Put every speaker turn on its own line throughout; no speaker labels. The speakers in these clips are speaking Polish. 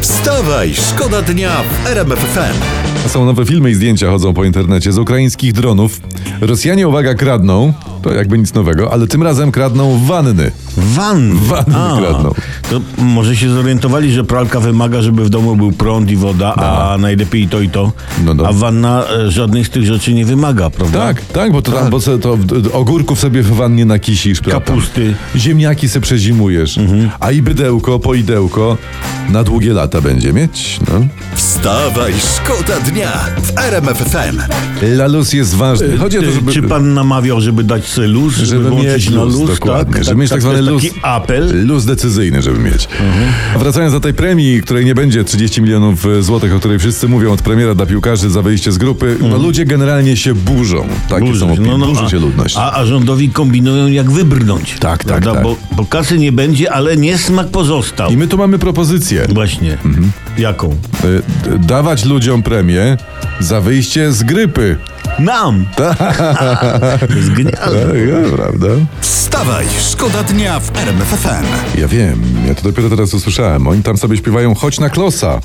Wstawaj, szkoda dnia w RMF FM.
Są nowe filmy i zdjęcia chodzą po internecie z ukraińskich dronów. Rosjanie, uwaga, kradną, to jakby nic nowego, ale tym razem kradną wanny.
Wanny.
Wanny
A,
kradną.
To może się zorientowali, że pralka wymaga, żeby w domu był prąd i woda, a najlepiej to i to.
No, no.
A wanna e, żadnych z tych rzeczy nie wymaga, prawda?
Tak, tak, bo to tam, bo se to w- d- ogórków sobie w wannie nakisisz, prawda?
Kapusty.
tak. Ziemniaki se przezimujesz, a i bydełko, poidełko na długie lata będzie mieć, no.
Wstawaj, szkoda dnia w RMF FM.
Lalus jest ważny. Y, Chodzi o to,
Czy-
żeby...
E, Y, Czy pan namawiał, żeby dać sobie luz, żeby,
Żeby
włączyć
mieć
na
luz,
luz,
dokładnie, żeby mieć tak
to
zwany
jest
luz.
Taki apel.
Luz decyzyjny, żeby mieć. A wracając do tej premii, której nie będzie 30 milionów e, złotych, o której wszyscy mówią od premiera dla piłkarzy za wyjście z grupy, no ludzie generalnie się burzą. Takie
Mhm. Burzy
są
się,
opinie. Burzy
a-
się ludność.
no, A, a rządowi kombinują, No, jak wybrnąć.
Tak, tak,
prawda?
tak.
Bo, bo kasy nie będzie, ale niesmak pozostał.
I Mhm. my tu mamy propozycję.
Właśnie. Jaką?
Y, d- Dawać ludziom premię za wyjście z grypy.
Nam! to jest genialne.
Tak, ja, prawda?
Wstawaj, szkoda dnia w RMF FM.
Ja wiem, ja to dopiero teraz usłyszałem. Oni tam sobie śpiewają Chodź na klosa.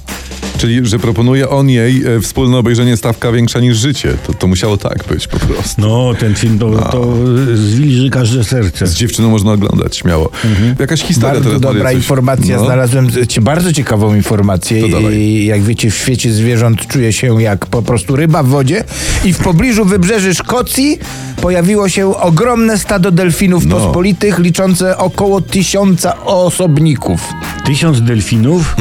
Czyli, że proponuje on jej e, wspólne obejrzenie stawka większa niż życie. To, to musiało tak być po prostu.
No, ten film to, to zwilży każde serce.
Z dziewczyną można oglądać, śmiało. Jakaś historia
Mhm. Bardzo
teraz
dobra
Maria, coś-
informacja.
No.
Znalazłem cie- bardzo ciekawą
To
informację.
dawaj.
I jak wiecie, w świecie zwierząt czuje się jak po prostu ryba w wodzie. I w pobliżu wybrzeży Szkocji pojawiło się ogromne stado delfinów
No.
pospolitych liczące około tysiąca osobników.
Tysiąc delfinów?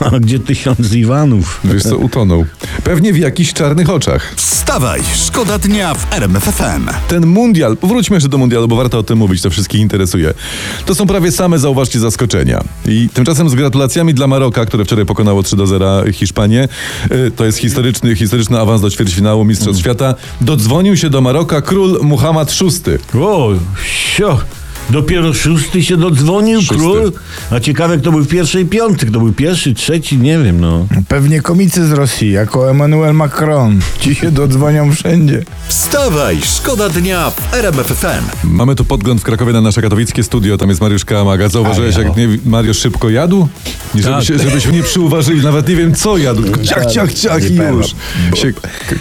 A gdzie tysiąc Iwanów?
Wiesz co, utonął. Pewnie w jakichś czarnych oczach.
Wstawaj, szkoda dnia w RMF FM.
Ten mundial, wróćmy jeszcze do mundialu, bo warto o tym mówić, to wszystkich interesuje. To są prawie same, zauważcie, zaskoczenia. I tymczasem z gratulacjami dla Maroka, które wczoraj pokonało 3 do 0 Hiszpanię. Y, To jest historyczny, historyczny awans do ćwierćfinału Mistrzostw
Mhm.
Świata. Dodzwonił się do Maroka król Muhammad VI.
O, sio. Dopiero szósty się dodzwonił
Szósty.
król. A ciekawe, kto był w pierwszej piąty, kto był pierwszy, trzeci, nie wiem, no.
Pewnie komicy z Rosji, jako Emmanuel Macron. Ci się dodzwonią wszędzie.
Wstawaj, szkoda dnia w RMF FM.
Mamy tu podgląd w Krakowie na nasze katowickie studio, tam jest Mariusz Kamaga. Zauważyłeś, jak nie, Mariusz szybko jadł? I żeby się, żebyśmy nie przyuważyli, nawet nie wiem co jadł. Tylko Ciach, ciach, ciach i
Nie
już. Się,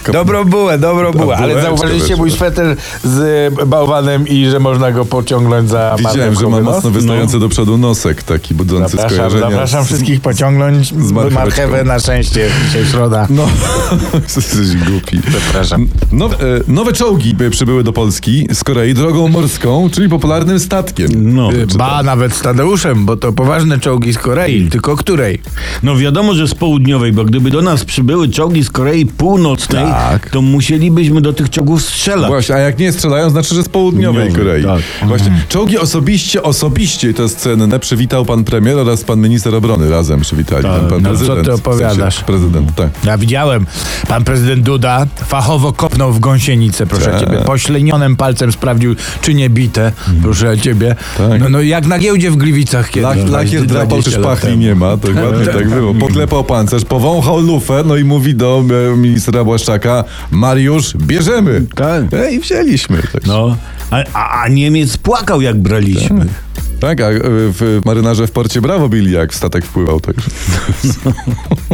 k-
Dobrą bułę, dobrą bułę. Ale
bułeczka
zauważyliście mój
weszła.
sweter z y, bałwanem i że można go pociągnąć za
Widziałem,
manewr
że ma
kobylos?
mocno wystający do przodu nosek, taki budzący
Zapraszam,
skojarzenia.
zapraszam wszystkich pociągnąć z
marcheweczką.
marchewę na szczęście. Dzisiaj środa.
No, jesteś głupi.
Przepraszam.
No, e, nowe czołgi by przybyły do Polski z Korei drogą morską, czyli popularnym statkiem.
No,
Ba, nawet z Tadeuszem, bo to poważne czołgi z
Mm.
Korei, tylko której?
no wiadomo, że z południowej, bo gdyby do nas przybyły czołgi z Korei Północnej,
Tak.
to musielibyśmy do tych czołgów
Tak.
strzelać.
Właśnie, a jak nie strzelają, znaczy, że z południowej
Południowej,
Korei.
tak.
Właśnie,
Mhm.
czołgi osobiście, osobiście, i to jest cenne, przywitał pan premier oraz pan minister obrony razem przywitali. Ten pan
no, co
prezydent.
ty
w sensie
opowiadasz?
prezydent, tak.
Ja widziałem, pan prezydent Duda fachowo kopnął w gąsienicę, proszę
Tak.
ciebie. Poślenionym palcem sprawdził, czy nie bite, proszę ciebie.
Mm. Tak.
No, no jak na giełdzie w Gliwicach kiedy.
Lak, lakier
20
drapał,
lat
czy
temu.
pachli nie ma, to dokładnie tak było. Poklepał pancerz, powąchał lufę, no i mówi do e, ministra Błaszczaka, Mariusz, bierzemy.
Tak.
E, I wzięliśmy. Tak,
No. A, a, a Niemiec płakał, jak braliśmy.
tak a e, w, marynarze w porcie brawo bili, jak statek wpływał. Tak.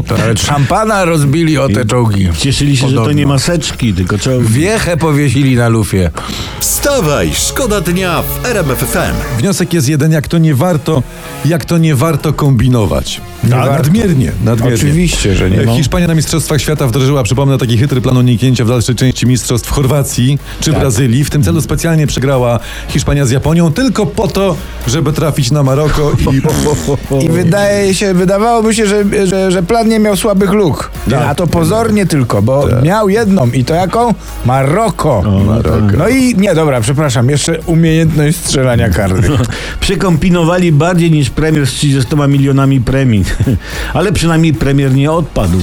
To Nawet szampana rozbili o te czołgi.
Cieszyli się, że to
Podobno.
nie maseczki, tylko czołgi.
Wiechę powiesili na lufie.
Wstawaj, szkoda dnia w RMF FM.
Wniosek jest jeden, jak to nie warto, jak to nie warto kombinować.
Nie
A,
warto.
Nadmiernie, nadmiernie.
Oczywiście, że nie. no.
E, Hiszpania na Mistrzostwach Świata wdrożyła, przypomnę, taki chytry plan uniknięcia w dalszej części Mistrzostw Chorwacji czy
Tak.
Brazylii. W tym celu specjalnie przegrała Hiszpania z Japonią tylko po to, żeby trafić na Maroko i...
I wydaje się, wydawałoby się, że, że, że plan nie miał słabych luk. A to pozornie tylko, bo miał jedną i to jaką? Maroko.
Maroko.
No i nie, dobra, przepraszam, jeszcze umiejętność strzelania karnych.
Tak. Przekombinowali bardziej niż premier z 30 milionami premii. Ale przynajmniej premier nie odpadł.